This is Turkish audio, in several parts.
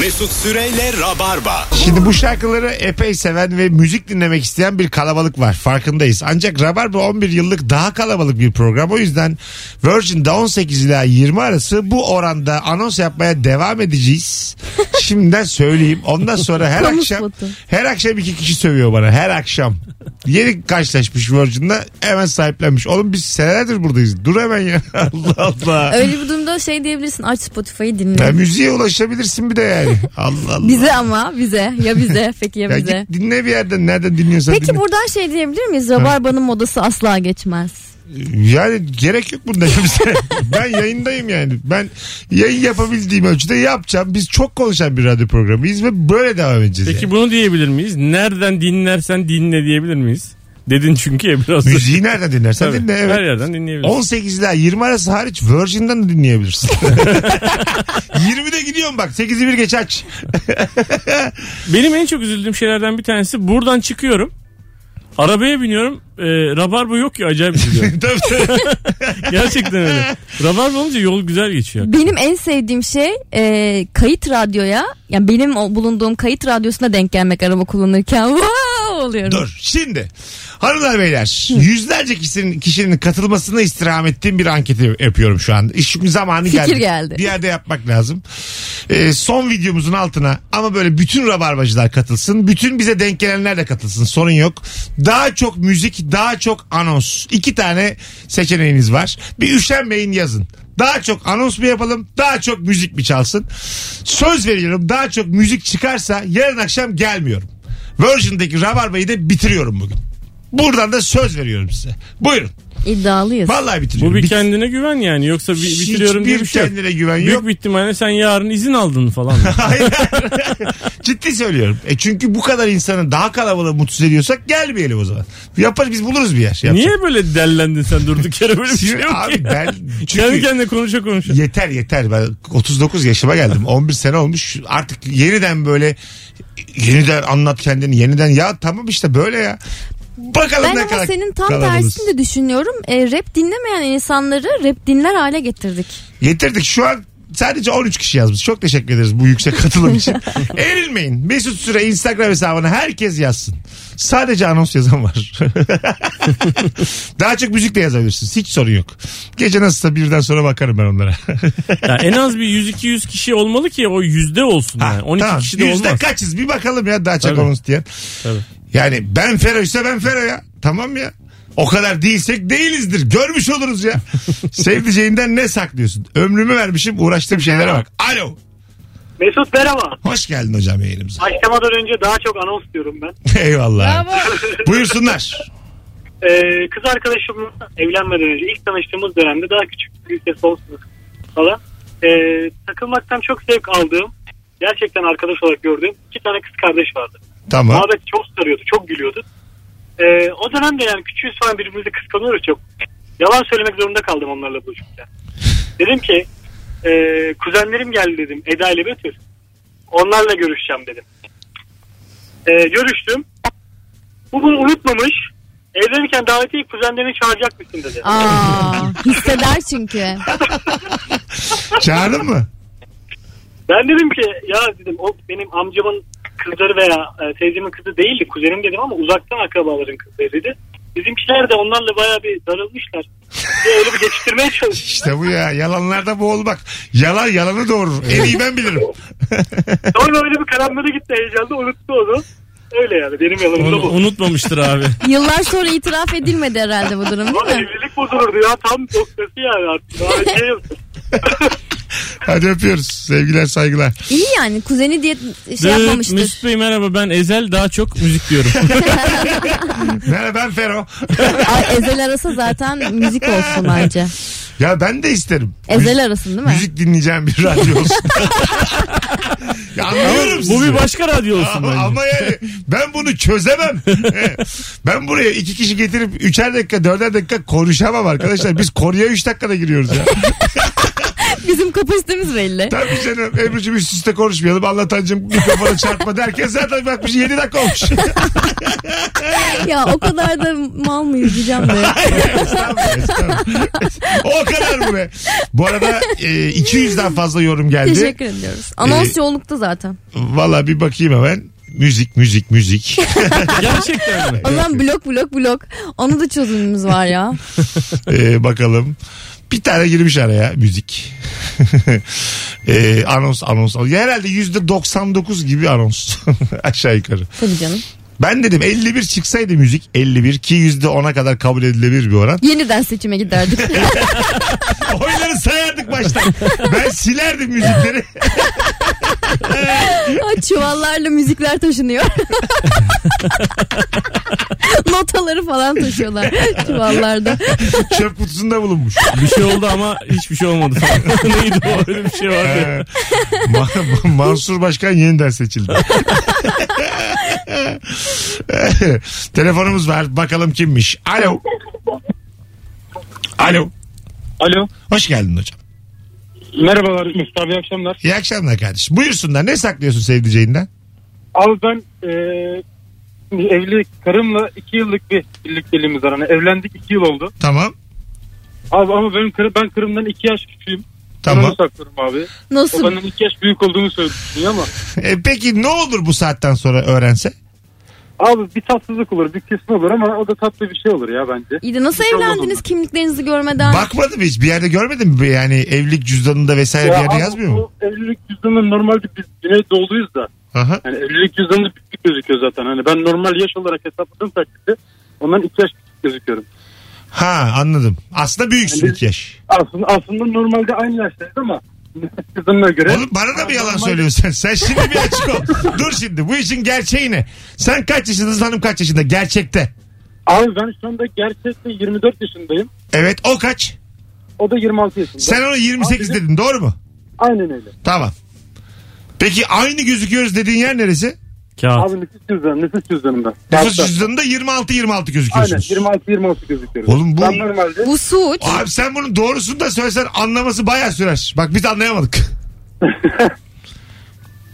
Mesut Süreyle Rabarba. Şimdi bu şarkıları epey seven ve müzik dinlemek isteyen bir kalabalık var. Farkındayız. Ancak Rabarba 11 yıllık daha kalabalık bir program. O yüzden Virgin'de 18 ila 20 arası bu oranda anons yapmaya devam edeceğiz. Şimdiden söyleyeyim. Ondan sonra her Konuk akşam botu. her akşam iki kişi sövüyor bana. Her akşam. Yeni karşılaşmış Virgin'da hemen sahiplenmiş. Oğlum biz senelerdir buradayız. Dur hemen ya. Allah Allah. Öyle bir durumda şey diyebilirsin aç Spotify'ı Ya dinle. müziğe ulaşabilirsin bir de yani. Allah Allah. Bize ama bize ya bize peki ya Ya bize. git dinle bir yerden nereden dinliyorsan Peki dinle. buradan şey diyebilir miyiz? Rabarbanın modası asla geçmez. Yani gerek yok bunda kimse. ben yayındayım yani. Ben yayın yapabildiğim ölçüde yapacağım. Biz çok konuşan bir radyo programıyız ve böyle devam edeceğiz. Peki yani. bunu diyebilir miyiz? Nereden dinlersen dinle diyebilir miyiz? Dedin çünkü ya biraz. da- Müziği nereden dinlersen Tabii. dinle. Her Evet. yerden dinleyebilirsin. 18 ile 20 arası hariç Virgin'den de dinleyebilirsin. 20'de gidiyorum bak 8'i bir geç aç. Benim en çok üzüldüğüm şeylerden bir tanesi buradan çıkıyorum. Arabaya biniyorum. E, rabarba yok ya acayip üzülüyorum. Tabii, tabii. Gerçekten öyle. Rabarba olunca yol güzel geçiyor. Benim en sevdiğim şey e, kayıt radyoya yani benim o bulunduğum kayıt radyosuna denk gelmek araba kullanırken wow oluyorum. Dur şimdi hanımlar beyler yüzlerce kişinin, kişinin katılmasını istirham ettiğim bir anketi yapıyorum şu anda. İş çünkü zamanı Fikir geldi. geldi. Bir yerde yapmak lazım. Ee, son videomuzun altına ama böyle bütün rabarbacılar katılsın. Bütün bize denk gelenler de katılsın sorun yok. Daha çok müzik daha çok anons. İki tane seçeneğiniz var. Bir üşenmeyin yazın. Daha çok anons mu yapalım? Daha çok müzik mi çalsın? Söz veriyorum daha çok müzik çıkarsa yarın akşam gelmiyorum. Virgin'deki rabarbayı da bitiriyorum bugün. Buradan da söz veriyorum size. Buyurun. İddialıyız. Vallahi bitiriyorum. Bu bir Bit- kendine güven yani. Yoksa bir, bitiriyorum diye Hiçbir bir şey yok. kendine güven yok. Büyük bir ihtimalle sen yarın izin aldın falan. Hayır. Ciddi söylüyorum. E çünkü bu kadar insanı daha kalabalığı mutsuz ediyorsak gelmeyelim o zaman. Yaparız biz buluruz bir yer. Yapacak. Niye böyle dellendin sen durduk yere böyle bir şey Sinir- yok abi ki. ben Kendi çünkü kendine konuşa konuşa. yeter yeter ben 39 yaşıma geldim 11 sene olmuş artık yeniden böyle yeniden anlat kendini yeniden ya tamam işte böyle ya bakalım Ben ne ama kadar senin tam kalabalığız. tersini de düşünüyorum. E, rap dinlemeyen insanları rap dinler hale getirdik. Getirdik şu an sadece 13 kişi yazmış. Çok teşekkür ederiz bu yüksek katılım için. Erilmeyin. Mesut Süre Instagram hesabına herkes yazsın. Sadece anons yazan var. Daha çok müzik de yazabilirsiniz. Hiç sorun yok. Gece nasılsa birden sonra bakarım ben onlara. Ya en az bir 100-200 kişi olmalı ki o yüzde olsun. Yani. 12 Tamam. kişi de Yüzde olmaz. kaçız bir bakalım ya daha çok Tabii. anons diyen. Tabii. Yani ben Fero ise ben Fero ya. Tamam ya. O kadar değilsek değilizdir. Görmüş oluruz ya. Sevdiceğinden ne saklıyorsun? Ömrümü vermişim uğraştığım şeylere bak. Alo. Mesut merhaba. Hoş geldin hocam yayınımıza. Başlamadan önce daha çok anons diyorum ben. Eyvallah. Buyursunlar. Ee, kız arkadaşımla evlenmeden önce ilk tanıştığımız dönemde daha küçük lise son sınıf falan. Ee, takılmaktan çok zevk aldığım gerçekten arkadaş olarak gördüğüm iki tane kız kardeş vardı. Tamam. Muhabbet çok sarıyordu çok gülüyordu. Ee, o dönemde yani küçüğüz falan birbirimizi kıskanıyoruz çok. Yalan söylemek zorunda kaldım onlarla buluşurken. Dedim ki e, kuzenlerim geldi dedim Eda ile Betül. Onlarla görüşeceğim dedim. Ee, görüştüm. Bu bunu unutmamış. Evlenirken davetiye kuzenlerini çağıracak mısın dedi. Aa, hisseder çünkü. Çağırdın mı? Ben dedim ki ya dedim o benim amcamın kızları veya e, teyzemin kızı değildi kuzenim dedim ama uzaktan akrabaların kızlarıydı. Bizimkiler de onlarla bayağı bir darılmışlar. Diye öyle bir geçiştirmeye çalıştım. İşte bu ya. Yalanlarda boğulmak. Yalan yalanı doğurur. En iyi ben bilirim. Sonra öyle bir karanlığa gitti heyecanlı unuttu onu. Öyle yani benim yalanım da Onu bu. unutmamıştır abi. Yıllar sonra itiraf edilmedi herhalde bu durum Lan değil mi? evlilik bozulurdu ya tam noktası yani artık. Daha şey yok. Hadi öpüyoruz. Sevgiler saygılar. İyi yani kuzeni diye şey Dıt, yapmamıştır. Mesut Bey merhaba ben Ezel daha çok müzik diyorum. Merhaba ben Fero. Ay, Ezel arası zaten müzik olsun bence. Ya ben de isterim. Müzik- Ezel arasın değil mi? Müzik dinleyeceğim bir radyo olsun. ya anlıyorum sizi. Bu bir başka radyo olsun Ama, bence. ama yani ben bunu çözemem. ben buraya iki kişi getirip üçer dakika dörder dakika konuşamam arkadaşlar. Biz konuya üç dakikada giriyoruz ya. Bizim kapasitemiz belli. Tabii canım Ebru'cum üst üste konuşmayalım. Anlatancım mikrofona çarpma derken zaten bakmış 7 dakika olmuş. ya o kadar da mal mıyız diyeceğim de. Estağfurullah, estağfurullah. o kadar mı be? Bu arada e, 200'den fazla yorum geldi. Teşekkür ediyoruz. Anons Ee, yoğunlukta zaten. Valla bir bakayım hemen. Müzik, müzik, müzik. Gerçekten mi? O zaman blok blok blok. Onu da çözümümüz var ya. Ee, bakalım. Bir tane girmiş araya müzik. Ee, anons anons. anons. Ya herhalde yüzde 99 gibi anons. Aşağı yukarı. Tabii canım. Ben dedim 51 çıksaydı müzik 51 ki yüzde 10'a kadar kabul edilebilir bir oran. Yeniden seçime giderdik. Oyları sayardık baştan. Ben silerdim müzikleri. Ay, Çuvallarla müzikler taşınıyor. Notaları falan taşıyorlar çuvallarda. Çöp kutusunda bulunmuş. Bir şey oldu ama hiçbir şey olmadı falan. Neydi o öyle bir şey vardı. ya. Ee, Ma- Mansur Başkan yeniden seçildi. Telefonumuz var. Bakalım kimmiş. Alo. Alo. Alo. Hoş geldin hocam. Merhabalar Mesut abi iyi akşamlar. İyi akşamlar kardeşim. Buyursunlar. Ne saklıyorsun sevdiceğinden? Abi ben eee, şimdi evli karımla 2 yıllık bir birlikteliğimiz var. Hani evlendik 2 yıl oldu. Tamam. Abi ama benim karım, ben karımdan 2 yaş küçüğüm. Ben Tamam. onu saklıyorum abi. O Nasıl? benden 2 yaş büyük olduğunu söylüyor ama. E, peki ne olur bu saatten sonra öğrense? Abi bir tatsızlık olur bir kesme olur ama o da tatlı bir şey olur ya bence. İyi de nasıl Hiç olmaz evlendiniz onlar. kimliklerinizi görmeden? Bakmadı mı hiç? Bir yerde görmedin mi? Yani evlilik cüzdanında vesaire bir yerde abi yazmıyor mu? bu Evlilik cüzdanı normalde biz Güneydoğuluyuz da. Aha. Yani evlilik cüzdanı büyük gözüküyor zaten. Hani ben normal yaş olarak hesapladığım takdirde ondan 2 yaş küçük gözüküyorum. Ha anladım. Aslında büyüksün Yani- iki yaş. Aslında, aslında normalde aynı yaştayız ama kızımla göre. Oğlum bana da mı yalan normal- söylüyorsun sen? Sen şimdi bir açık ol. Dur şimdi bu işin gerçeği ne? Sen kaç yaşındasın hanım kaç yaşında? Gerçekte. Abi ben şu anda gerçekte 24 yaşındayım. Evet o kaç? O da 26 yaşında. Sen ona 28 Abi- dedin doğru mu? Aynen öyle. Tamam. Peki aynı gözüküyoruz dediğin yer neresi? Ah. Kağıt. Abi nüfus cüzdanı, nüfus cüzdanında. Nüfus cüzdanında 26-26 Aynen gözüküyorsunuz. 26-26 gözüküyoruz. Oğlum bu- Ben normalde... Bu suç. Abi sen bunun doğrusunu da söylesen anlaması bayağı sürer. Bak biz anlayamadık.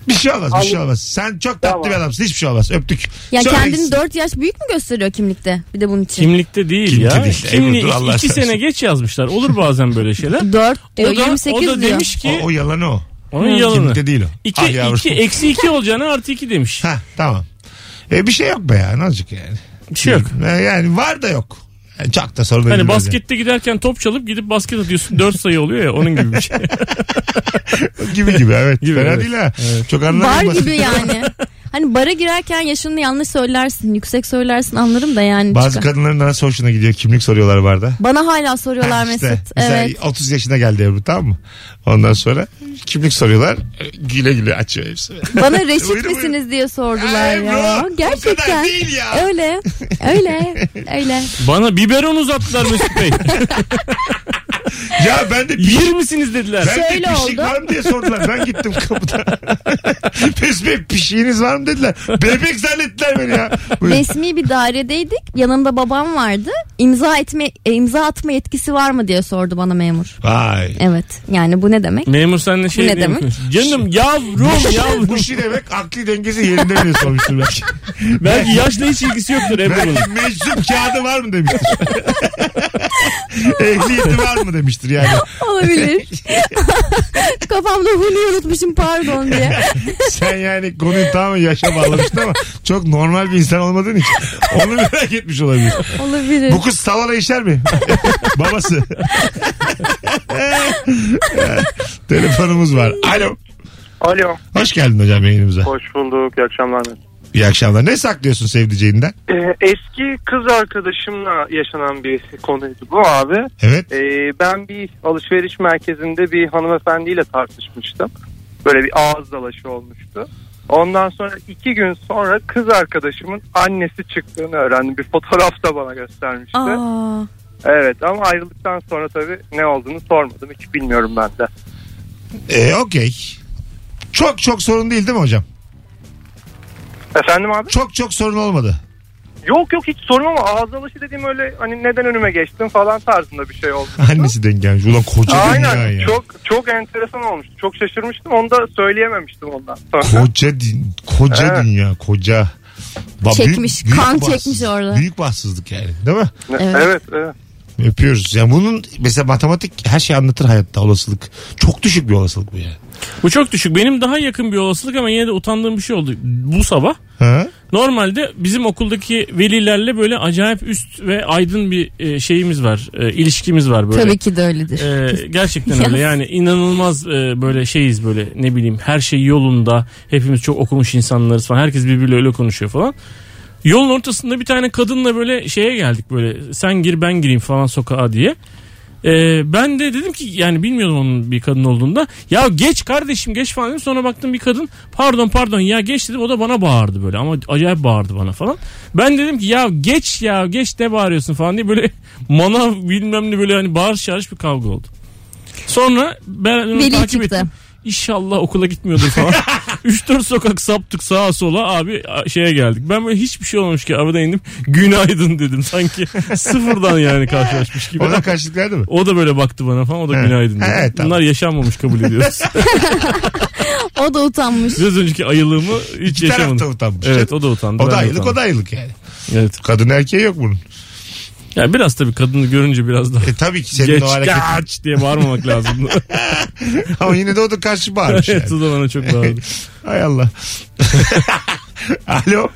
bir şey olmaz bir şey olmaz. Sen çok tatlı bir Tamam. adamsın hiçbir şey olmaz öptük. Ya Sonra kendini 4 yaş büyük mü gösteriyor kimlikte? Bir de bunun için. Kimlikte değil Kimlikte ya. değil. Kimliği Ebru, dur Allah iki sen- sene geç yazmışlar. Olur bazen böyle şeyler. 4 O diyor, da, 28 o da e, diyor. demiş ki o, o yalanı o. onun yalanı. Kimlikte değil o. İki, Ah yavrum. iki, eksi iki olacağına artı iki demiş. Ha tamam. E bir şey yok be ya ne olacak yani. Bir şey yok. E, yani var da yok. Yani çok da sorun Hani edilmez baskette giderken top çalıp gidip basket atıyorsun. Dört sayı oluyor ya onun gibi bir şey. yani. Gibi gibi evet. Gibi, Fena evet. değil ha. Çok anlamıyorum. Bar gibi yani. Hani bara girerken yaşını yanlış söylersin, yüksek söylersin anlarım da yani. Bazı çıkar. kadınların nasıl hoşuna gidiyor kimlik soruyorlar barda. Bana hala soruyorlar Ha, işte. Mesut. Mesela Evet. 30 yaşına geldi Ebru tamam mı? Ondan sonra kimlik soruyorlar. e, Güle güle açıyor hepsi. Bana reşit Buyurun, misiniz buyurun. diye sordular Ebru, ya. o kadar Gerçekten. değil ya. Öyle. Öyle. Öyle. Bana biberon uzattılar Mesut Bey. ya ben de piş, Yer misiniz dediler. ben de Şöyle pişik oldu. var mı diye sordular. Ben gittim kapıda. Mesut Bey pişiğiniz var mı dediler. Bebek zannettiler beni ya. Buyurun. Resmi bir dairedeydik. Yanımda babam vardı. İmza etme e, imza atma yetkisi var mı diye sordu bana memur. Vay. Evet. Yani bu ne demek? Memur senle şey ne diye mi demek? konuşuyor? Canım yavrum Ya yavrum. bu şey demek akli dengesi yerinde bile sormuştur belki. Belki yaşla hiç ilgisi yoktur Ebru'nun. belki meczup kağıdı var mı demiştir. Ehliyeti var mı demiştir yani. Olabilir. Kafamda huni unutmuşum pardon diye. Sen yani konuyu tamamen yaşa bağlamıştın ama çok normal bir insan olmadığın için onu merak etmiş olabilir. Olabilir. Bu kız salona işer mi? Babası. Telefonumuz var. Alo. Alo. Hoş geldin hocam yayınımıza. Hoş bulduk. İyi akşamlar. İyi akşamlar. Ne saklıyorsun sevdiceğinden? Ee, eski kız arkadaşımla yaşanan bir konuydu bu abi. Evet. Ee, ben bir alışveriş merkezinde bir hanımefendiyle tartışmıştım. Böyle bir ağız dalaşı olmuştu. Ondan sonra iki gün sonra kız arkadaşımın annesi çıktığını öğrendim. Bir fotoğraf da bana göstermişti. Aa, Evet ama ayrıldıktan sonra tabii ne olduğunu sormadım. Hiç bilmiyorum ben de. Ee, Okey. Çok çok sorun değil değil mi hocam? Efendim abi? Çok çok sorun olmadı. Yok yok hiç sorun ama ağız dalaşı dediğim öyle hani neden önüme geçtin falan tarzında bir şey oldu. Annesi denk gelmiş. Ulan koca dünya Aynen ya. çok çok enteresan olmuştu. Çok şaşırmıştım onu da söyleyememiştim ondan sonra. Koca, di- koca Evet. dünya koca. Ba- Çekmiş, kan bahtsız- çekmiş orada. Büyük bahtsızlık yani değil mi? Evet. Evet evet. Öpüyoruz. Yani bunun mesela matematik her şeyi anlatır hayatta olasılık. Çok düşük bir olasılık bu yani. Bu çok düşük. Benim daha yakın bir olasılık ama yine de utandığım bir şey oldu bu sabah. Ha? Normalde bizim okuldaki velilerle böyle acayip üst ve aydın bir e, şeyimiz var. e, ilişkimiz var böyle. Tabii ki de öyledir. E, gerçekten öyle yani inanılmaz e, böyle şeyiz böyle ne bileyim her şey yolunda. Hepimiz çok okumuş insanlarız falan. Herkes birbiriyle öyle konuşuyor falan. Yolun ortasında bir tane kadınla böyle şeye geldik böyle sen gir ben gireyim falan sokağa diye. E, ben de dedim ki yani bilmiyordum onun bir kadın olduğunda. Ya geç kardeşim geç falan dedim. Sonra baktım bir kadın pardon pardon ya geç dedi. O da bana bağırdı böyle ama acayip bağırdı bana falan. Ben dedim ki ya geç ya geç ne bağırıyorsun falan diye böyle manav bilmem ne böyle hani bağırış çağırış bir kavga oldu. Sonra ben onu Veli takip çıktı. ettim. İnşallah okula gitmiyordur falan. 3-4 sokak saptık sağa sola abi a- şeye geldik. Ben böyle hiçbir şey olmamış ki arada indim. Günaydın dedim sanki sıfırdan yani karşılaşmış gibi. Ona karşılık verdi mi? O da böyle baktı bana falan. O da Evet. günaydın dedi. Evet, tamam. Bunlar yaşanmamış kabul ediyoruz. O da utanmış. Biraz önceki ayılığımı hiç İki taraf da yaşamadım. utanmış. Evet o da utandı. O ben da de aylık o utandım. da aylık yani. Evet. Kadın erkeği yok bunun. Ya biraz tabii kadını görünce biraz daha E tabii ki senin geç o hareketin. kaç diye bağırmamak lazım. Ama yine de o da karşı bağırmış yani. evet o da bana çok bağırdı. Hay Allah. Alo.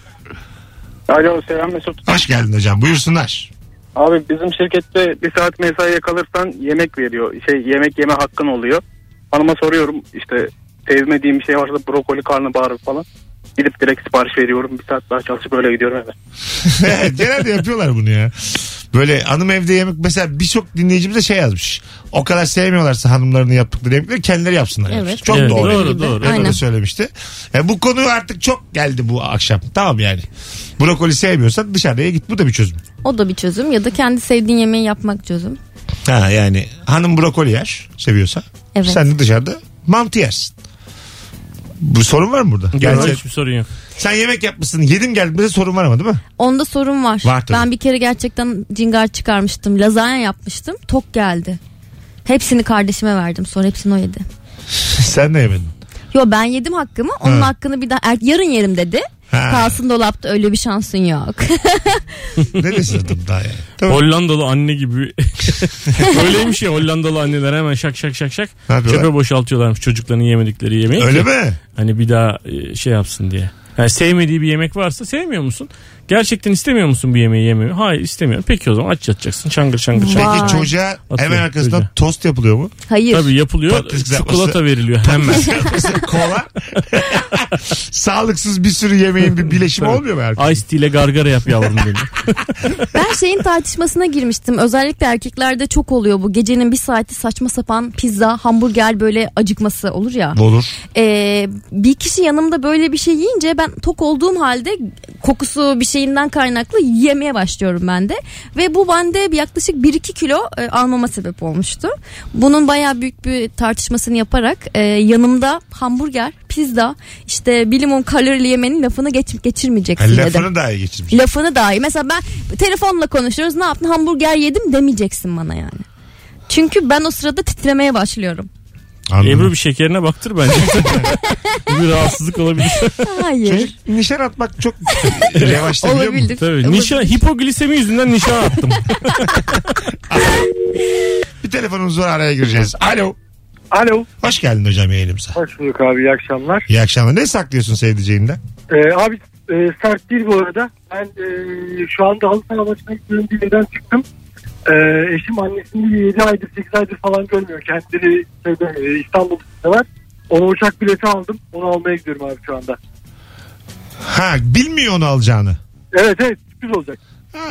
Alo selam Mesut. Hoş geldin hocam. Buyursunlar. Abi bizim şirkette bir saat mesaiye kalırsan yemek veriyor. Şey yemek yeme hakkın oluyor. Hanıma soruyorum işte sevmediğim bir şey varsa brokoli karnabahar falan. Gidip direkt sipariş veriyorum. Bir saat daha çalışıp öyle gidiyorum eve. Genelde yapıyorlar bunu ya. Böyle hanım evde yemek mesela birçok dinleyicimiz de şey yazmış. O kadar sevmiyorlarsa hanımlarını yaptıkları yemekleri kendileri yapsınlar. Evet. yazmış. Çok Evet, doğru. doğru, Yani doğru. öyle Aynen. söylemişti. E, bu konu artık çok geldi bu akşam. Tamam yani. Brokoli sevmiyorsan dışarıya git. Bu da bir çözüm. O da bir çözüm ya da kendi sevdiğin yemeği yapmak çözüm. Ha yani hanım brokoli yer seviyorsa. Evet. Sen de dışarıda mantı yersin. Bu sorun var mı burada? Yani Gerçi sen, hiçbir sorun yok. sen yemek yapmışsın. Yedim geldim. Bize sorun var ama değil mi? Onda sorun var. Var tabii. ben bir kere gerçekten cingar çıkarmıştım. Lazanya yapmıştım. Tok geldi. Hepsini kardeşime verdim. Sonra hepsini o yedi. sen de yemedin. Yo ben yedim hakkımı. Onun Ha. hakkını bir daha er- yarın yerim dedi. Ha. Kalsın dolapta öyle bir şansın yok. Ne desin adam daha yani? Tamam. Hollandalı anne gibi. Öyleymiş ya Hollandalı anneler hemen şak şak şak şak. Ne yapıyorlar? Çöpe boşaltıyorlarmış çocukların yemedikleri yemeği. Öyle mi? Hani bir daha e, şey yapsın diye. Yani sevmediği bir yemek varsa sevmiyor musun? Gerçekten istemiyor musun bu yemeği yemeyi? Hayır istemiyorum. Peki o zaman aç yatacaksın. Çangır çangır Vay. Peki çangır. çocuğa hemen Atıyor, arkasından çocuğa. tost yapılıyor mu? Hayır. Tabii yapılıyor. Patates kızartması. Çikolata veriliyor hemen. Mesela kola. Sağlıksız bir sürü yemeğin bir bileşimi Tabii. olmuyor mu arkasında? Ice tea ile gargara yap yavrum dedi. Ben şeyin tartışmasına girmiştim. Özellikle erkeklerde çok oluyor bu. Gecenin bir saati saçma sapan pizza, hamburger böyle acıkması olur ya. Olur. Ee, bir kişi yanımda böyle bir şey yiyince ben tok olduğum halde kokusu bir şeyinden kaynaklı yemeye başlıyorum ben de. Ve bu bende bir yaklaşık 1-2 kilo e, almama sebep olmuştu. Bunun bayağı büyük bir tartışmasını yaparak e, yanımda hamburger, pizza işte bir limon kalorili yemenin lafını geç, geçirmeyeceksin Yani dedim lafını daha iyi geçirmiş. lafını dahi. Mesela ben telefonla konuşuyoruz ne yaptın hamburger yedim demeyeceksin bana yani. Çünkü ben o sırada titremeye başlıyorum. Anladım. Ebru bir şekerine baktır bence. bir rahatsızlık olabilir. şey Hayır. Çocuk nişan atmak çok revaçta biliyor musun? Olabilir. Tabii. Nişan, hipoglisemi yüzünden nişan attım. Bir telefonumuz var araya gireceğiz. Alo. Alo. Hoş geldin hocam yayınımıza. Hoş bulduk abi iyi akşamlar. İyi akşamlar. Ne saklıyorsun sevdiceğinden? Ee, abi e, sert değil bu arada. Ben e, şu anda halı saha maçına gitmiyorum diye evden çıktım. E, eşim annesini 7 aydır 8 aydır falan görmüyor. Kendileri şeyde, e, İstanbul'da var. Ona uçak bileti aldım. Onu almaya gidiyorum abi şu anda. Ha bilmiyor onu alacağını. Evet evet sürpriz olacak.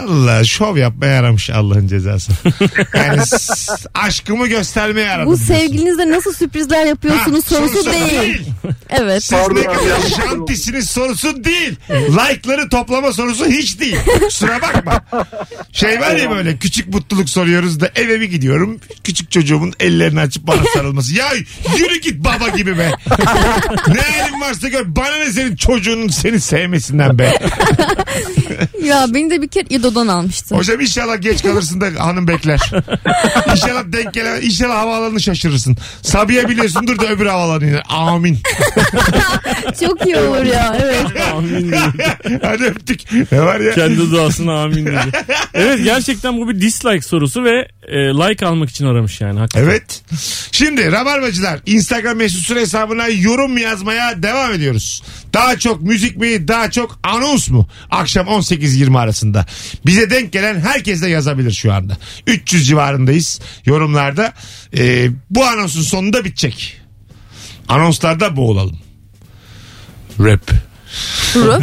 Allah şov yapmaya yaramış Allah'ın cezası. Yani s- aşkımı göstermeye yaradım. Bu diyorsun. sevgilinizle nasıl sürprizler yapıyorsunuz Ha, sorusu değil. Evet. Siz ne Pardon. kadar şantisiniz sorusu değil. Like'ları toplama sorusu hiç değil. Kusura bakma. Şey var ya böyle küçük mutluluk soruyoruz da eve mi gidiyorum? Küçük çocuğumun ellerini açıp bana sarılması. Ya yürü git baba gibi be. ne halin varsa gör. Bana ne senin çocuğunun seni sevmesinden be. Ya beni de bir kere İdo'dan almıştı. Hocam inşallah geç kalırsın da hanım bekler. inşallah denk gelen, inşallah havaalanını şaşırırsın. Sabiha biliyorsundur da öbür havaalanı iner. Amin. Çok iyi olur ya. Evet. Amin diyor. Hadi öptük. Ne var ya? Kendi duasına amin diyor. Evet gerçekten bu bir dislike sorusu ve e, like almak için aramış yani. Hakikaten. Evet. Şimdi Rabarbacılar Instagram mesut süre hesabına yorum yazmaya devam ediyoruz. Daha çok müzik mi daha çok anons mu? Akşam 18-20 arasında. Bize denk gelen herkes de yazabilir şu anda. 300 civarındayız yorumlarda. Ee, bu anonsun sonunda bitecek. Anonslarda boğulalım. Rap. Rap.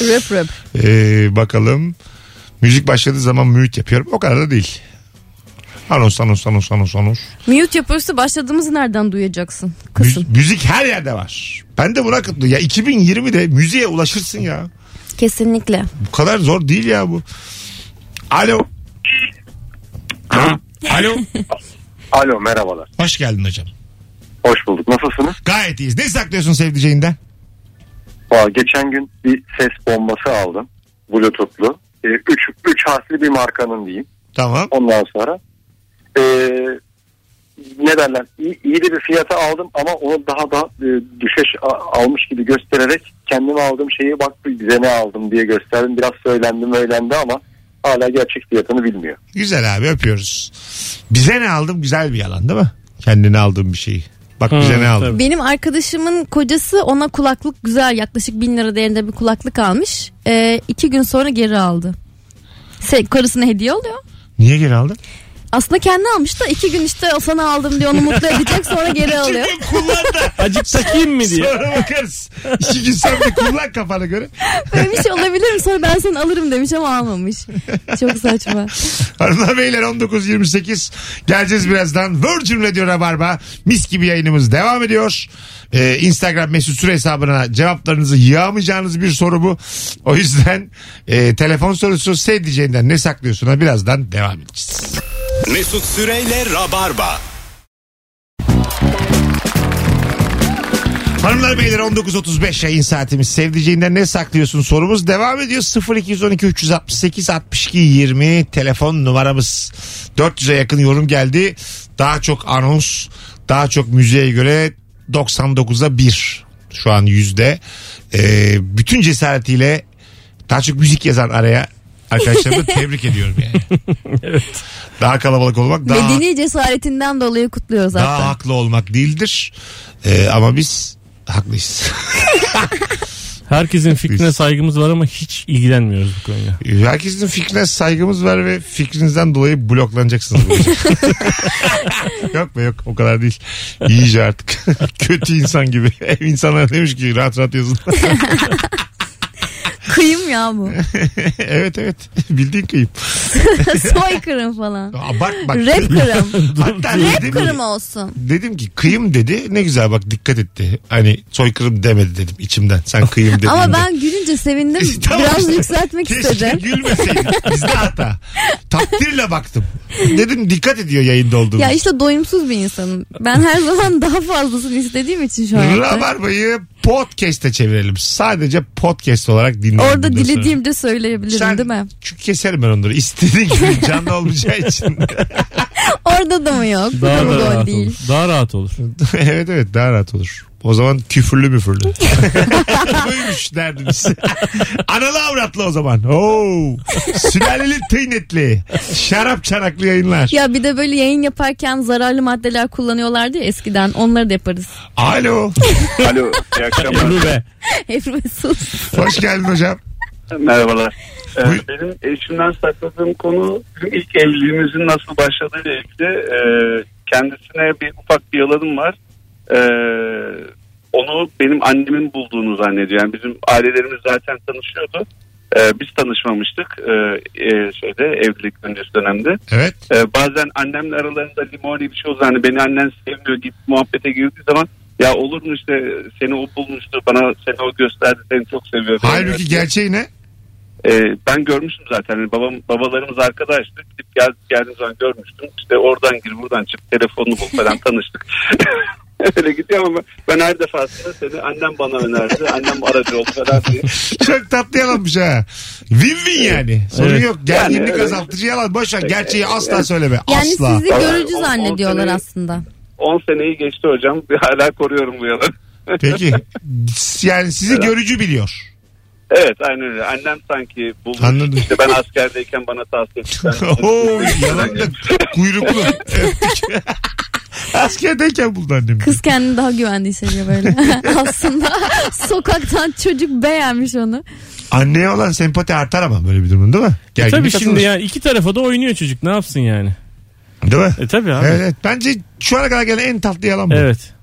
rap rap. Ee, bakalım. Müzik başladığı zaman mute yapıyorum. O kadar da değil. Anons anons anons anons anons. Mute yapıyorsa başladığımızı nereden duyacaksın? Müz- Kızım. müzik her yerde var. Ben de buna katılıyorum. Ya 2020'de müziğe ulaşırsın ya. Kesinlikle. Bu kadar zor değil ya bu. Alo. Alo. Alo merhabalar. Hoş geldin hocam. Hoş bulduk. Nasılsınız? Gayet iyiyiz. Ne saklıyorsun sevdiceğinden? Valla geçen gün bir ses bombası aldım. Bluetooth'lu. 3 üç, üç harfli bir markanın diyeyim. Tamam. Ondan sonra e, ne derler iyi, iyi de bir fiyata aldım ama onu daha da e, düşeş a- almış gibi göstererek kendime aldığım şeyi bak bize ne aldım diye gösterdim. Biraz söylendim öğlendi ama hala gerçek fiyatını bilmiyor. Güzel abi öpüyoruz. Bize ne aldım? Güzel bir yalan değil mi? Kendine aldığın bir şeyi. Bak bize Hmm, ne aldın. tabii. Benim arkadaşımın kocası ona kulaklık güzel yaklaşık bin lira değerinde bir kulaklık almış. Ee, iki gün sonra geri aldı. Se- karısına hediye oluyor. Niye geri aldın? Aslında kendi almış da iki gün işte o sana aldım diye onu mutlu edecek sonra geri alıyor. Çünkü kullandı. Acık takayım mı diye. Sonra bakarız. İki gün sen de kullan kafana göre. Böyle bir şey olabilir mi? Sonra ben seni alırım demiş ama almamış. Çok saçma. Hanımlar beyler 19.28 geleceğiz birazdan. Virgin Radio Rabarba mis gibi yayınımız devam ediyor. Ee, Instagram mesut süre hesabına cevaplarınızı yağmayacağınız bir soru bu. O yüzden e, telefon sorusu sevdiceğinden ne saklıyorsun ha birazdan devam edeceğiz. Mesut Süreyle Rabarba. Hanımlar beyler 19.35 yayın saatimiz sevdiceğinden ne saklıyorsun sorumuz devam ediyor 0212 368 62 20 telefon numaramız 400'e yakın yorum geldi daha çok anons daha çok müziğe göre 99'a 1 şu an yüzde Ee, bütün cesaretiyle daha çok müzik yazan araya arkadaşlarımı tebrik ediyorum yani Evet. daha kalabalık olmak daha Bedeni cesaretinden dolayı kutluyor zaten. daha haklı olmak değildir Ee, ama biz haklıyız. Herkesin fikrine saygımız var ama hiç ilgilenmiyoruz bu konuya. Herkesin fikrine saygımız var ve fikrinizden dolayı bloklanacaksınız. bu gece. yok be yok o kadar değil. İyice artık. Kötü insan gibi. Ev insanlara demiş ki rahat rahat yazın. Kıyım ya bu. evet evet bildiğin kıyım. Soykırım falan. Aa, bak bak. Rap kırım. Hatta Rap dedim, kırım olsun. dedim ki kıyım dedi ne güzel bak dikkat etti. Hani soykırım demedi dedim içimden sen kıyım dedin. Ama ben gülünce sevindim. Tamam Biraz işte. yükseltmek Keşke istedim. gülmeseydin. Bizde hata. Takdirle baktım. Dedim dikkat ediyor yayında olduğum. Ya işte doyumsuz bir insanım. Ben her zaman daha fazlasını istediğim için şu hayatta. Rabarba'yı podcast'e çevirelim. Sadece podcast olarak dinleyelim. Orada bundan sonra. dilediğimde söyleyebilirim Sen- değil mi? Çünkü keserim ben onları. İstediğin gibi canlı olmayacağı için. Orada da mı yok? Bu da Daha mı da gol rahat değil? olur. Daha rahat olur. evet evet daha rahat olur. O zaman küfürlü müfürlü. Buymuş derdiniz. Analı avratlı o zaman. Oo. Sülaleli tıynetli. Şarap çanaklı yayınlar. Ya bir de böyle yayın yaparken zararlı maddeler kullanıyorlardı ya eskiden. Onları da yaparız. Alo. Alo, iyi akşamlar. Ebru be. Ebru ve sus. Hoş geldin hocam. Merhabalar. Ee, Buyur. benim eşimden sakladığım konu bizim ilk evliliğimizin nasıl başladığıyla ilgili. Ee, kendisine bir ufak bir yalanım var. Ee, onu benim annemin bulduğunu zannediyor. Yani bizim ailelerimiz zaten tanışıyordu. Ee, biz tanışmamıştık e, e, şeyde evlilik öncesi dönemde. Evet. Ee, bazen annemle aralarında limoni bir şey olsa hani beni annen sevmiyor git muhabbete girdiği zaman ya olur mu işte seni o bulmuştu bana seni o gösterdi seni çok seviyor. Halbuki gerçeği ne? Ee, ben görmüştüm zaten Hani babam babalarımız arkadaştı gidip gel, geldiğim zaman görmüştüm işte oradan gir buradan çık telefonunu bul falan tanıştık. Öyle gidiyor ama ben her defasında seni annem bana önerdi annem aracı oldu falan diye. Çok tatlı yalanmış ha. Win win yani. Sorun Evet. yok. Gerginlik Yani, evet. azaltıcı yalan. Boş ver. Gerçeği asla söyleme. Yani asla. sizi görücü On- on zannediyorlar sene- aslında. 10 seneyi geçti hocam hala koruyorum bu yalanı. Peki. S- Yani sizi görücü biliyor. Evet aynen öyle. Annem sanki bulmuş. Anladım. İşte ben askerdeyken bana tavsiye etti. Oo yalan da kuyruklu. Öptük. Askerdeyken buldu annem. Kız kendini daha güvende hissediyor böyle. aslında sokaktan çocuk beğenmiş onu. Anneye olan sempati artar ama böyle bir durumun değil mi? E Gerginlik tabii şimdi azalır. yani iki tarafa da oynuyor çocuk. Ne yapsın yani? Değil mi? E tabii abi. Evet, Evet. evet. Bence şu ana kadar gelen en tatlı yalan bu.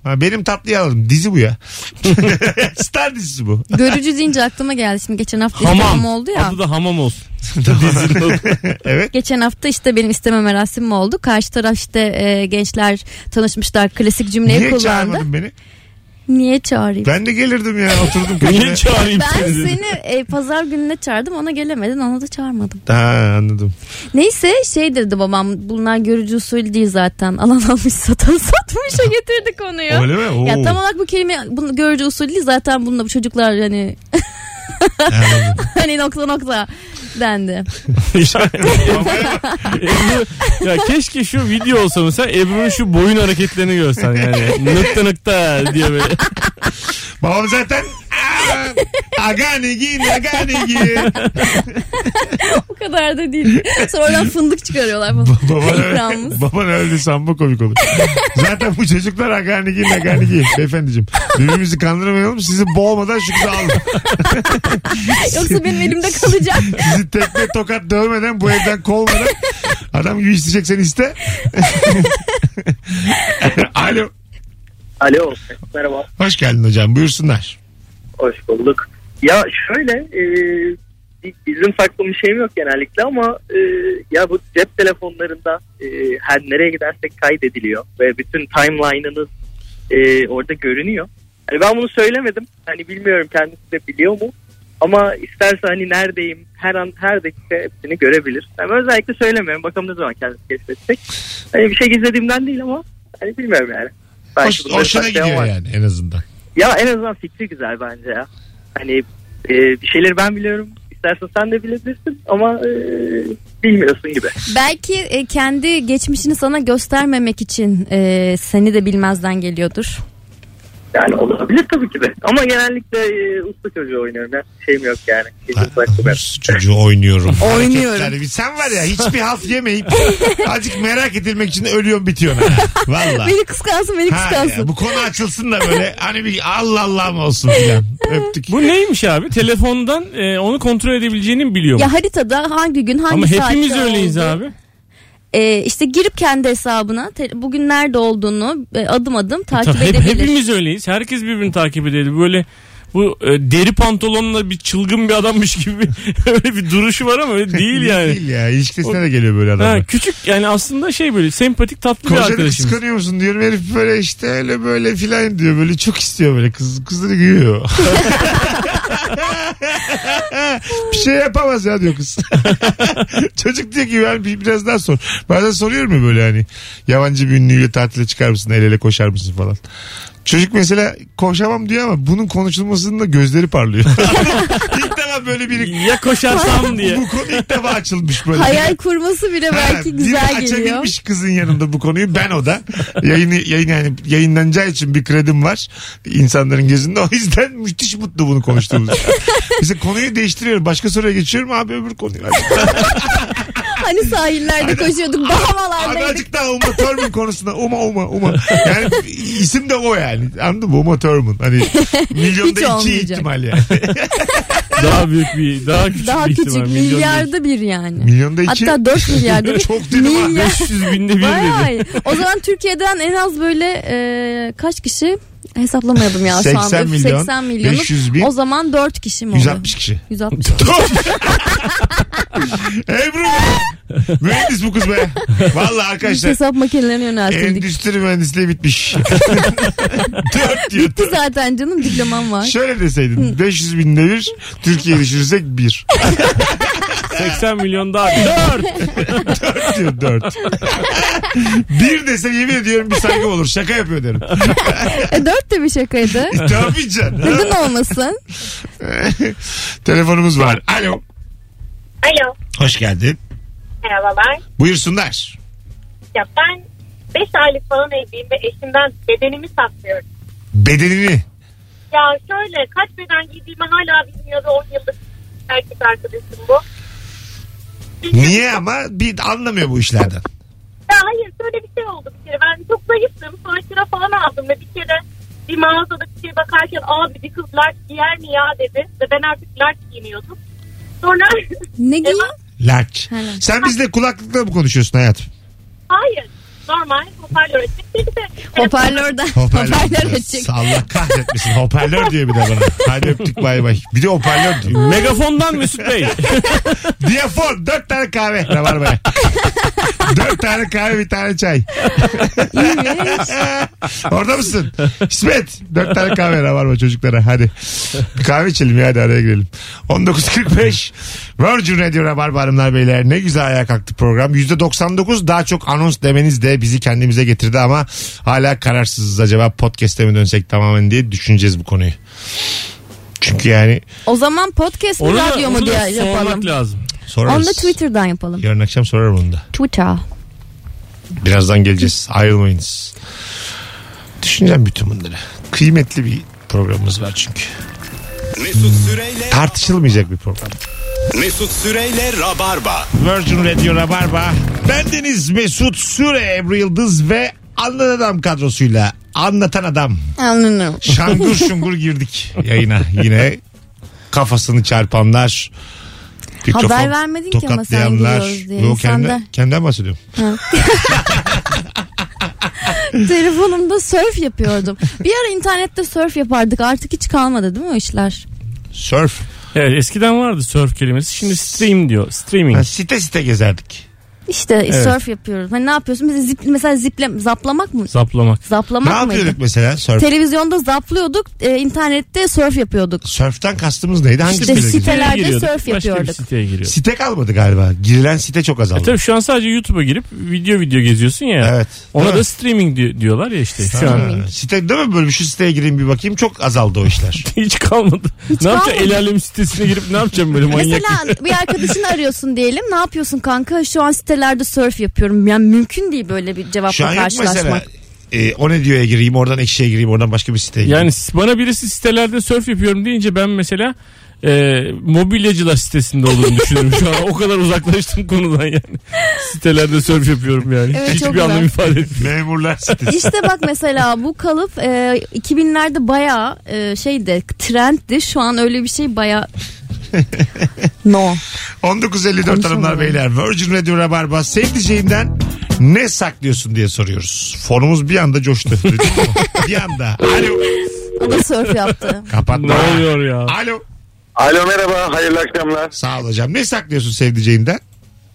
Ha, benim tatlı yalanım. Dizi bu ya. Star dizisi bu. Görücü deyince aklıma geldi. Şimdi geçen hafta Hamam. istemem oldu ya. Adı da hamam olsun. evet. Geçen hafta işte benim isteme merasimim oldu. Karşı taraf işte e, gençler tanışmışlar. Klasik cümleyi Niye kullandı. çağırmadın beni? Niye çağırayım? Ben de gelirdim ya. Oturdum köşeye. Niye çağırayım Ben seni? dedi. seni e, pazar gününe çağırdım ona gelemedin ona da çağırmadım. Ha anladım. Neyse şey dedi babam bunlar görücü usulü değil zaten alan almış satan satmışa getirdi konuyu. Öyle mi? Oo. Ya tam olarak bu kelime bunu görücü usulü değil zaten bununla bu çocuklar hani Anladım. hani nokta nokta dendi. Ebru, ya keşke şu video olsa mesela Ebru'nun şu boyun hareketlerini görsen yani. Nıkta nıkta diye böyle. Babam zaten "Aa, aga ne giyin aga ne giyin. Bu kadar da değil. Sonradan fındık çıkarıyorlar falan. Baban, Yalnız. öldü, baban öldü sanma komik olur. Zaten bu çocuklar aga ne giyin aga ne giyin. Beyefendiciğim birbirimizi kandırmayalım sizi boğmadan şu kızı alın. Yoksa benim elimde kalacak. Sizi tekme tokat dövmeden bu evden kovmadan adam gibi isteyeceksen iste. Alo. Alo. Merhaba. Hoş geldin hocam buyursunlar. Hoş bulduk. Ya şöyle e, bi- bizim saklı bir şeyim yok genellikle ama e, ya bu cep telefonlarında e, her nereye gidersek kaydediliyor ve bütün timeline'ınız e, orada görünüyor. Hani ben bunu söylemedim. Hani bilmiyorum kendisi de biliyor mu? Ama isterse hani neredeyim her an her dakika hepsini görebilir. Yani ben özellikle söylemiyorum. Bakalım ne zaman kendisi keşfedecek. Hani bir şey gizlediğimden değil ama hani bilmiyorum yani. Belki Hoş, bunları hoşuna saklayan gidiyor var. yani en azından. Ya en azından fikri güzel bence ya. Hani e, bir şeyleri ben biliyorum. İstersen sen de bilebilirsin ama e, bilmiyorsun gibi. Belki e, kendi geçmişini sana göstermemek için e, seni de bilmezden geliyordur. Yani olabilir tabii ki de. Ama genellikle e, usta çocuğu oynuyorum. Ben şeyim yok yani. Kesin saklı ben. Rus çocuğu oynuyorum. Oynuyorum. Hareketler. Sen var ya hiçbir halt yemeyip azıcık merak edilmek için ölüyorsun bitiyorsun. ha. Valla. Beni kıskansın beni Ha ya, kıskansın. bu konu açılsın da böyle hani bir Allah Allah'ım olsun filan. Öptük. Bu neymiş abi? Telefondan e, onu kontrol edebileceğini biliyor Ya haritada hangi gün hangi Ama saatte hepimiz öyleyiz oldu? abi. Ee, işte girip kendi hesabına te- bugün nerede olduğunu e, adım adım takip Tabii hep- edebilir. hepimiz öyleyiz. Herkes birbirini takip edebilir. Böyle bu e, deri pantolonla bir çılgın bir adammış gibi öyle bir duruşu var ama öyle değil yani. Değil ya ilişkisine de geliyor böyle adamlar. Ha, küçük yani aslında şey böyle sempatik tatlı bir Kocanı arkadaşımız. kıskanıyor musun diyorum herif böyle işte öyle böyle filan diyor böyle çok istiyor böyle kız kız da gülüyor. bir şey yapamaz ya diyor kız. Çocuk diyor ki ben bir, biraz daha sor. Bazen soruyorum ya böyle hani yabancı bir ünlüyle tatile çıkar mısın el ele koşar mısın falan. Çocuk mesela koşamam diyor ama bunun konuşulmasında gözleri parlıyor. ilk defa böyle biri Ya koşarsam diye. bu konu ilk defa açılmış böyle. Hayal kurması bile Ha, belki biri güzel geliyor. açabilmiş kızın yanında bu konuyu ben o da. Yayını, yayın yani yayınlanacağı için bir kredim var insanların gözünde. O yüzden müthiş mutlu bunu konuştuğumuz. Mesela konuyu değiştiriyorum. Başka soruya geçiyorum abi öbür konuyu. Hadi. Hani sahillerde koşuyorduk, Abi bahamalardaydık. azıcık daha Uma Thurman konusunda. Uma Uma Uma. Yani isim de o yani. Anladın mı? Uma Thurman. Hani Hiç milyonda iki olmayacak. ihtimal yani. Daha büyük bir daha küçük Daha bir küçük ihtimal. Milyon milyarda bir yani. milyonda iki. Hatta 4 milyarda bir. Çok dedim ha. değil. Milyar- 500 binde bir dedi. Vay. O zaman Türkiye'den en az böyle e, kaç kişi? Hesaplamadım ya şu 80 anda. milyon, 80 milyonu. 500 bin, o zaman 4 kişi mi oluyor? 160 kişi. 160. Ebru be. Mühendis bu kız be. Vallahi Biz arkadaşlar. hesap makinelerine yöneltildik. Endüstri mühendisliği bitmiş. Dört diyor. Bitti zaten canım diplomam var. Şöyle deseydin 500 binde bir Türkiye düşürürsek bir. 80 milyon daha. 4. Dört diyor dört. bir dese yemin ediyorum bir saygı olur. Şaka yapıyor derim. Şey- E 4 de bir şakaydı. Tabii canım. Neden olmasın? Telefonumuz var. Alo. Alo. Hoş geldin. Merhabalar. Buyursunlar. Ya ben 5 aylık falan evliyim ve eşimden bedenimi saklıyorum. Bedenini. Ya şöyle kaç beden giydiğimi hala bilmiyor ve 10 yıllık erkek arkadaşım bu. Niye ama bir anlamıyor bu işlerden. Ya hayır şöyle bir şey oldu bir kere. Ben çok zayıftım. Sonra kilo falan aldım ve bir kere bir mağazada bir şey bakarken abi bir kız large giyer mi ya dedi. Ve ben artık large giyiniyordum. Sonra Ne giyiyor? Large. Helal. Sen bizle kulaklıkla mı konuşuyorsun hayatım? hayır normal hoparlör açık. Dedi de, Hoparlörden. Hoparlör. Hoparlör açık. Allah kahretmesin. Hoparlör diyor bir de bana. Hadi öptük bay bay. Bir de hoparlör diyor. Megafondan Mesut Bey. Diyafon. Dört tane kahve. Ne var be? Dört tane kahve bir tane çay. Orada mısın? İsmet. Dört tane kahve ne var mı çocuklara? Hadi. Bir kahve içelim ya hadi araya girelim. 19.45 Virgin Radio Rabarba Hanımlar Beyler. Ne güzel ayağa kalktı program. %99 daha çok anons demeniz de bizi kendimize getirdi ama hala kararsızız. Acaba podcast'e mi dönsek tamamen diye düşüneceğiz bu konuyu. Çünkü yani O zaman podcast mi Onu da, radyo mu onu diye da yapalım. sormak lazım. sorarız. Onu da Twitter'dan yapalım. Yarın akşam sorarım onu da. Twitter. Birazdan geleceğiz. Ayrılmayınız. Düşüneceğim bütün bunları. Kıymetli bir programımız var çünkü. Mesut Süreyle Tartışılmayacak bir program. Mesut Süreyle Rabarba. Virgin Radio Rabarba. Bendeniz Mesut Süre, Ebru Yıldız ve Anlatan Adam kadrosuyla Anlatan Adam. Anlıyorum. Şangur şungur girdik yayına yine. Kafasını çarpanlar. mikrofon Haber vermedin ki ama sen tokatlayanlar. gidiyoruz diye. Yok, Sen kendi, de- kendimden bahsediyorum. Telefonumda surf yapıyordum. Bir ara internette surf yapardık. Artık hiç kalmadı değil mi o işler? Surf. Evet eskiden vardı surf kelimesi. Şimdi stream diyor. Ha, Streaming. site site gezerdik. İşte surf yapıyoruz. Hani ne yapıyorsun? Mesela, zip, mesela ziple, zaplamak mı? Zaplamak. Ne Zaplamak mıydı? yapıyorduk mesela surf? Televizyonda zaplıyorduk. e, internette surf yapıyorduk. Surf'tan kastımız neydi? Hangi İşte sitelere site- gidiyor? Sitelerde Siteye giriyorduk. surf Başka bir yapıyorduk. siteye giriyorduk. Site kalmadı galiba. Girilen site çok azaldı. E tabii şu an sadece YouTube'a girip video video geziyorsun ya. Evet. Ona Değil mi? da streaming di- diyorlar ya işte. Şu an Ha, site değil mi böyle şu siteye gireyim bir bakayım çok azaldı o işler. hiç kalmadı. ne yapacağım? kalmadı. El alem sitesine girip ne yapacağım böyle manyak? Mesela bir arkadaşını arıyorsun diyelim. Ne yapıyorsun kanka? Şu an sitelerde surf yapıyorum. Yani mümkün değil böyle bir cevapla Şu an yok mesela karşılaşmak. e, o ne diyor'ya gireyim oradan ekşiye gireyim oradan başka bir siteye gireyim. Yani s- bana birisi sitelerde surf yapıyorum deyince ben mesela e, mobilyacılar sitesinde olduğunu düşünüyorum şu an. O kadar uzaklaştım konudan yani. Sitelerde surf yapıyorum yani. Evet, çok Hiçbir güzel. anlam ifade etmiyor. Memurlar sitesi. İşte bak mesela bu kalıp e, 2000'lerde bayağı e, şeydi trenddi. Şu an öyle bir şey bayağı no. 1954 hanımlar beyler Virgin Radio Rabarba sevdiceğinden ne saklıyorsun diye soruyoruz. Fonumuz bir anda coştu. Duydun mu? bir anda. Alo. O da surf yaptı. Kapatma. Ne oluyor ya? Alo. Alo merhaba hayırlı akşamlar. Sağ ol hocam. Ne saklıyorsun sevdiceğinden?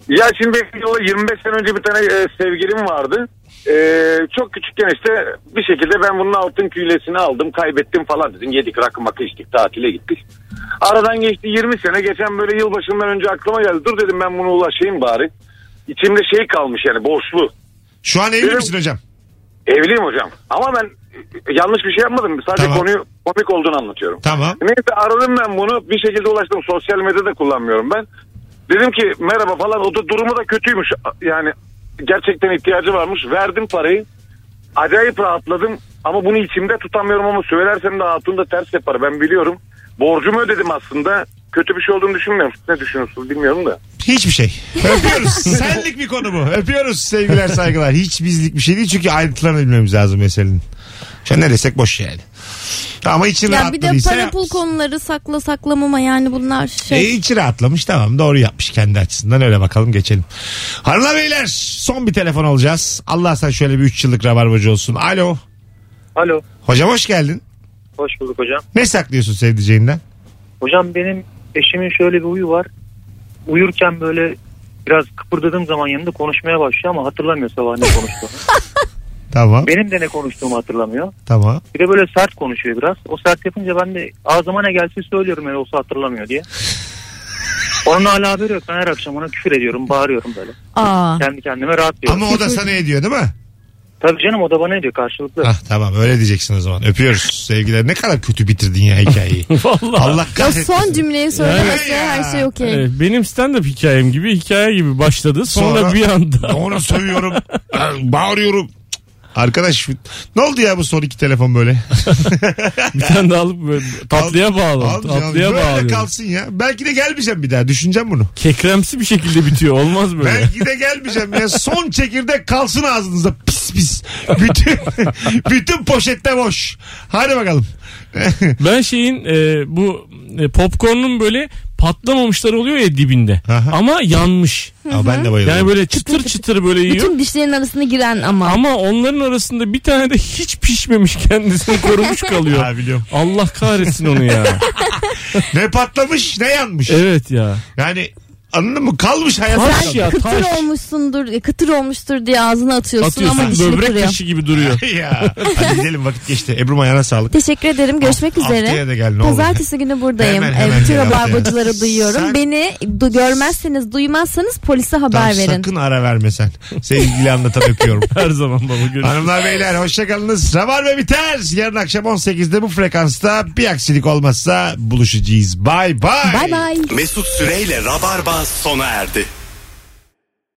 Ya şimdi benim yıllar- 25 sene önce bir tane e, sevgilim vardı. E, çok küçükken işte bir şekilde ben bunun altın küylesini aldım kaybettim falan dedim. Yedik rakı makı içtik tatile gittik. Aradan geçti 20 sene geçen böyle yılbaşından önce aklıma geldi. Dur dedim ben bunu ulaşayım bari. İçimde şey kalmış yani borçlu. Şu an evli Benim- misin hocam? Evliyim hocam ama ben e, yanlış bir şey yapmadım. Sadece Tamam. konuyu komik olduğunu anlatıyorum. Tamam. Neyse aradım ben bunu. Bir şekilde ulaştım. Sosyal medyada kullanmıyorum ben. Dedim ki merhaba falan. O da durumu da kötüymüş. Yani gerçekten ihtiyacı varmış. Verdim parayı. Acayip rahatladım. Ama bunu içimde tutamıyorum ama söylersem de hatun da ters yapar. Ben biliyorum. Borcumu ödedim aslında. Kötü bir şey olduğunu düşünmüyorum. Siz Ne düşünüyorsunuz bilmiyorum da. Hiçbir şey. Öpüyoruz. Senlik bir konu bu. Öpüyoruz sevgiler saygılar. Hiç bizlik bir şey değil çünkü ayrıntılarını bilmemiz lazım meselenin. Şu an ne desek boş yani. Ama için ya bir de rahatladıysa... para pul konuları sakla saklamama yani bunlar şey. E, içi rahatlamış tamam doğru yapmış kendi açısından öyle bakalım geçelim. Hanımlar beyler son bir telefon alacağız. Allah sen şöyle bir 3 yıllık rabarbacı olsun. Alo. Alo. Hocam hoş geldin. Hoş bulduk hocam. Ne saklıyorsun sevdiceğinden? Hocam benim eşimin şöyle bir huyu var. Uyurken böyle biraz kıpırdadığım zaman yanında konuşmaya başlıyor ama hatırlamıyor sabah ne konuştuğunu. Tamam. benim de ne konuştuğumu hatırlamıyor. Tamam. Bir de böyle sert konuşuyor biraz. O sert yapınca ben de ağzıma ne gelse söylüyorum öyle olsa hatırlamıyor diye. Onun hala haberi yok. Ben her akşam ona küfür ediyorum, bağırıyorum böyle. Aa. Kendi kendime rahatlıyorum. Ama o da sana ediyor değil mi? Tabii canım o da bana ediyor karşılıklı. Hah, tamam öyle diyeceksin o zaman. Öpüyoruz sevgiler. Ne kadar kötü bitirdin ya hikayeyi. Vallahi. Allah Ya kahretsin. son cümleyi söylemesi Ya. her şey okey. Evet, benim stand-up hikayem gibi hikaye gibi başladı. Sonra, Sonra- bir anda Ona sövüyorum. Bağırıyorum. Arkadaş ne oldu ya bu son iki telefon böyle? bir tane daha alıp böyle tatlıya bağlı. Almayacağım. Tatlıya böyle bağlı. kalsın ya. Belki de gelmeyeceğim bir daha. Düşüneceğim bunu. Kekremsi bir şekilde bitiyor. Olmaz böyle. Belki de gelmeyeceğim ya. Son çekirdek kalsın ağzınızda. Pis pis. Bütün, bütün poşette boş. Hadi bakalım. Ben şeyin e, bu e, popcorn'un böyle patlamamışları oluyor ya dibinde. Aha. Ama yanmış. Ama ben de bayılıyorum. Yani böyle çıtır çıtır böyle yiyor. Bütün dişlerin arasına giren ama. Ama onların arasında bir tane de hiç pişmemiş kendisini korumuş kalıyor. Ha, biliyorum. Allah kahretsin onu ya. Ne patlamış ne yanmış. Evet ya. Yani anladın mı? Kalmış hayatta. Taş kalmış. ya kıtır taş. olmuşsundur, e, kıtır olmuştur diye ağzına atıyorsun, ama Atıyorsun dişini böbrek kırıyor. taşı gibi duruyor. ya. Hadi gidelim vakit geçti. Ebru'm ayağına sağlık. Teşekkür ederim. Görüşmek Haft- üzere. Ah, haftaya da gel, ne olur. Pazartesi günü buradayım. Hemen, hemen Ee, Bütün gel haftaya. rabarbacıları duyuyorum. Sen- Beni du- görmezseniz, duymazsanız polise Tamam, haber verin. sakın ara verme sen. Sevgili anlatan öpüyorum. Her zaman baba görüşürüz. Hanımlar beyler hoşçakalınız. Rabarba biter. Yarın akşam 18'de bu frekansta bir aksilik olmazsa buluşacağız. Bay bay. Bay bay. Mesut Süreyle Rabarba sona erdi.